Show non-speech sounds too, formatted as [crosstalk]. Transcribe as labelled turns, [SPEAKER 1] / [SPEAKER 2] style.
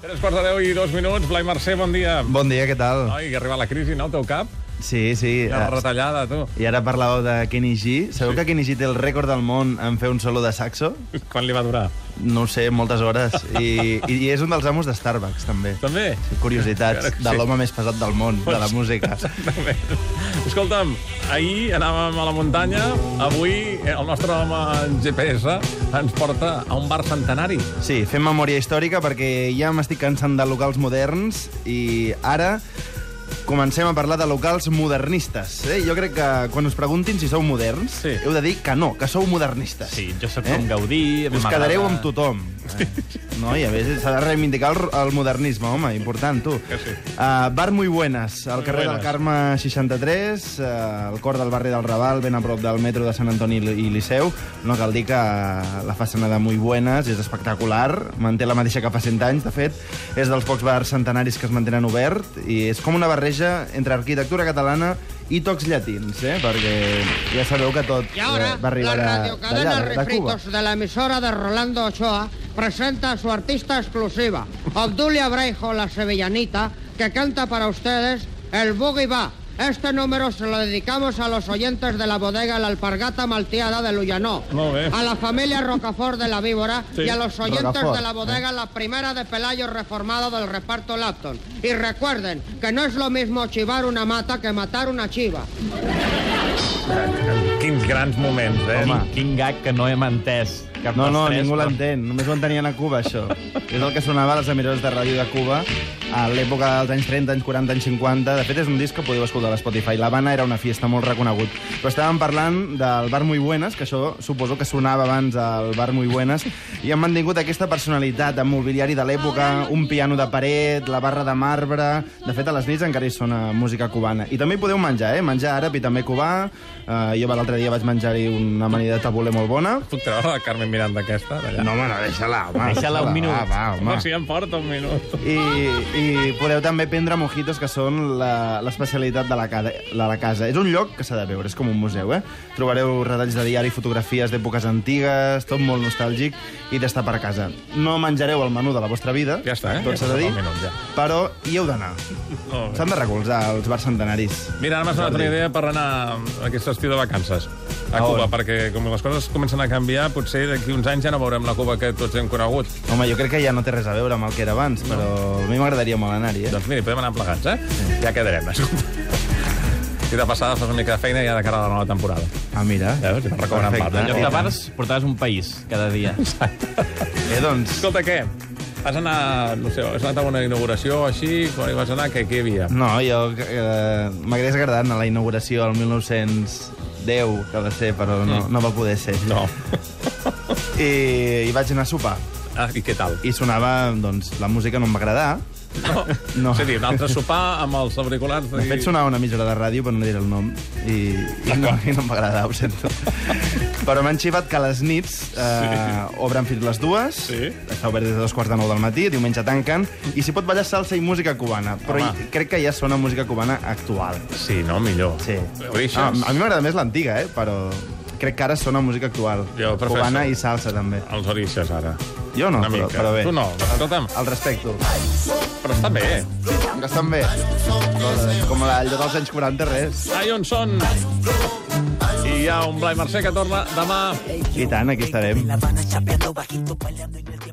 [SPEAKER 1] Tres quarts de deu i dos minuts. Blai Mercè, bon dia.
[SPEAKER 2] Bon dia, què tal?
[SPEAKER 1] Noi, que arriba la crisi, no, al teu cap?
[SPEAKER 2] Sí, sí.
[SPEAKER 1] La
[SPEAKER 2] eh,
[SPEAKER 1] retallada, tu.
[SPEAKER 2] I ara parlàveu de Kenny G. Sabeu
[SPEAKER 1] Sí.
[SPEAKER 2] que Kenny G té el rècord del món en fer un solo de saxo?
[SPEAKER 1] Quan li va durar?
[SPEAKER 2] No ho sé, moltes hores.
[SPEAKER 1] [laughs]
[SPEAKER 2] I, i és un dels amos de Starbucks, també.
[SPEAKER 1] També?
[SPEAKER 2] Sí, Curiositats
[SPEAKER 1] Claro que
[SPEAKER 2] de
[SPEAKER 1] sí.
[SPEAKER 2] l'home més pesat del món, de la
[SPEAKER 1] [laughs]
[SPEAKER 2] música.
[SPEAKER 1] Exactament. Escolta'm, ahir anàvem a la muntanya, avui eh, el nostre home en GPS ens porta a un bar centenari.
[SPEAKER 2] Sí, fem memòria històrica perquè ja m'estic cansant de locals moderns i ara comencem a parlar de locals modernistes. Eh? Jo crec que quan us preguntin si sou moderns,
[SPEAKER 1] Sí.
[SPEAKER 2] heu de dir que no, que sou modernistes.
[SPEAKER 3] Sí, jo sóc
[SPEAKER 2] Eh?
[SPEAKER 3] eh? com Gaudí... a mi
[SPEAKER 2] Us
[SPEAKER 3] m'agrada-
[SPEAKER 2] quedareu amb tothom.
[SPEAKER 1] [laughs]
[SPEAKER 2] Eh? No, i a més s'ha de reivindicar el, el modernisme, home, important, tu.
[SPEAKER 1] Que sí.
[SPEAKER 2] Uh, Bar Muy Buenas, al
[SPEAKER 1] Muy
[SPEAKER 2] carrer
[SPEAKER 1] buenas.
[SPEAKER 2] del Carme 63, uh, al cor del barri del Raval, ben a prop del metro de Sant Antoni i Liceu. No cal dir que eh, la façana de Muy Buenas és espectacular, manté la mateixa que fa 100 anys, de fet. És dels pocs bars centenaris que es mantenen obert i és com una barreja entre arquitectura catalana i tocs llatins, eh? perquè ja sabeu que tot
[SPEAKER 4] Y ahora,
[SPEAKER 2] eh, va
[SPEAKER 4] la
[SPEAKER 2] arribar d'allà,
[SPEAKER 4] radiocadena
[SPEAKER 2] de- de Cuba.
[SPEAKER 4] Refritos de la emisora de Rolando Ochoa presenta a su artista exclusiva, Obdulia Breijo, la sevillanita, que canta para ustedes el Boogie Va. Este número se lo dedicamos a los oyentes de la bodega La Alpargata Malteada de Lullanó,
[SPEAKER 1] Molt bé.
[SPEAKER 4] a la familia Rocafort de la Víbora
[SPEAKER 1] Sí.
[SPEAKER 4] y a los oyentes
[SPEAKER 2] Rocafort, eh.
[SPEAKER 4] de la bodega La Primera de Pelayo Reformado del reparto Lapton. Y recuerden que no es lo mismo chivar una mata que matar una chiva.
[SPEAKER 1] Quins grans moments, eh?
[SPEAKER 2] Home.
[SPEAKER 3] Quin, quin gag que no hem entès. Cap
[SPEAKER 2] No,
[SPEAKER 3] dels
[SPEAKER 2] no,
[SPEAKER 3] tres,
[SPEAKER 2] ningú
[SPEAKER 3] però-
[SPEAKER 2] l'entén. Només ho entenien a Cuba, això. És el que sonava a les emisores de ràdio de Cuba a l'època dels anys 30, anys 40, anys 50. De fet, és un disc que podeu escoltar a Spotify. La Habana era una fiesta molt reconegut. Però estàvem parlant del Bar Muy Buenas, que això suposo que sonava abans al Bar Muy Buenas, i han mantingut aquesta personalitat amb mobiliari de l'època, un piano de paret, la barra de marbre... De fet, a les nits encara hi sona música cubana. I també hi podeu menjar, eh? Menjar àrab i també cubà. Uh, jo l'altre dia vaig menjar-hi una amanida de tabulé molt bona.
[SPEAKER 1] Puc treure la Carmen Miranda aquesta? d'allà?
[SPEAKER 2] No, home, no, deixa-la, home.
[SPEAKER 3] Deixa-la un minut.
[SPEAKER 2] Va, va, home.
[SPEAKER 1] si em porta un minut.
[SPEAKER 2] I, I podeu també prendre mojitos, que són la- l'especialitat de, la ca- de la casa. És un lloc que s'ha de veure, és com un museu, eh? Trobareu retalls de diari, fotografies d'èpoques antigues, tot molt nostàlgic, i d'estar per casa. No menjareu el menú de la vostra vida,
[SPEAKER 1] Ja està, eh?
[SPEAKER 2] tot
[SPEAKER 1] Ja
[SPEAKER 2] s'ha de
[SPEAKER 1] està,
[SPEAKER 2] dir,
[SPEAKER 1] el menú, ja.
[SPEAKER 2] però hi heu d'anar.
[SPEAKER 1] Molt bé.
[SPEAKER 2] S'han de recolzar els bars centenaris.
[SPEAKER 1] Mira, ara m'ha sonat una idea per anar aquest estiu de vacances a Cuba, perquè com les coses comencen a canviar, potser d'aquí uns anys ja no veurem la Cuba que tots hem conegut.
[SPEAKER 2] Home, jo crec que ja no té res a veure amb el que era abans, però a mi m'agradaria molt anar-hi, eh?
[SPEAKER 1] Doncs mira, hi podem anar plegats, eh? Ja quedarem.
[SPEAKER 2] [laughs]
[SPEAKER 1] escolta. I de passada fas una mica de feina ja de cara a la nova temporada.
[SPEAKER 2] Ah, mira.
[SPEAKER 1] Veus? Ja recomanem
[SPEAKER 2] Perfecte.
[SPEAKER 1] part,
[SPEAKER 3] En lloc
[SPEAKER 1] Eh,
[SPEAKER 3] de bars, portaves un país cada
[SPEAKER 2] [laughs]
[SPEAKER 3] dia.
[SPEAKER 2] Eh, doncs...
[SPEAKER 1] Escolta, què? Has anat, no sé, has anat a una inauguració així? Quan hi vas anar, què, què hi havia?
[SPEAKER 2] No, jo eh, m'hagués agradat anar a la inauguració el 1910, que va ser, però no, no va poder ser.
[SPEAKER 1] Mm. No.
[SPEAKER 2] I, I vaig anar a sopar.
[SPEAKER 1] [laughs] Ah, I què tal?
[SPEAKER 2] I sonava, doncs, la música no em va agradar.
[SPEAKER 1] No.
[SPEAKER 2] No.
[SPEAKER 1] És a dir, un altre sopar amb els auriculars...
[SPEAKER 2] De fet, sonava una emissora de ràdio, però no diré el nom. I, i, no, i no em va agradar, ho
[SPEAKER 1] [laughs]
[SPEAKER 2] sento. però m'han xivat que a les nits eh, sí. obren fins les dues,
[SPEAKER 1] Sí.
[SPEAKER 2] està obert des de dos quarts de nou del matí, diumenge tanquen, i s'hi pot ballar salsa i música cubana. Però
[SPEAKER 1] Home.
[SPEAKER 2] hi, crec que ja sona música cubana actual.
[SPEAKER 1] Sí, no? Millor.
[SPEAKER 2] Sí.
[SPEAKER 1] Orixes.
[SPEAKER 2] Ah, a mi m'agrada més l'antiga, eh? però crec que ara sona música actual.
[SPEAKER 1] Jo prefereixo-
[SPEAKER 2] Cubana i salsa, també.
[SPEAKER 1] Els orixes, ara.
[SPEAKER 2] Jo no,
[SPEAKER 1] Una
[SPEAKER 2] però,
[SPEAKER 1] mica.
[SPEAKER 2] però bé.
[SPEAKER 1] Tu no, escolta'm.
[SPEAKER 2] El respecto.
[SPEAKER 1] Però està bé.
[SPEAKER 2] Que estan bé. Com la, allò dels anys 40, res.
[SPEAKER 1] Ai, on són? I hi ha un Blai Mercè que torna demà
[SPEAKER 2] I tant, aquí estarem.
[SPEAKER 5] La Habana chapeando bajito, bailando en el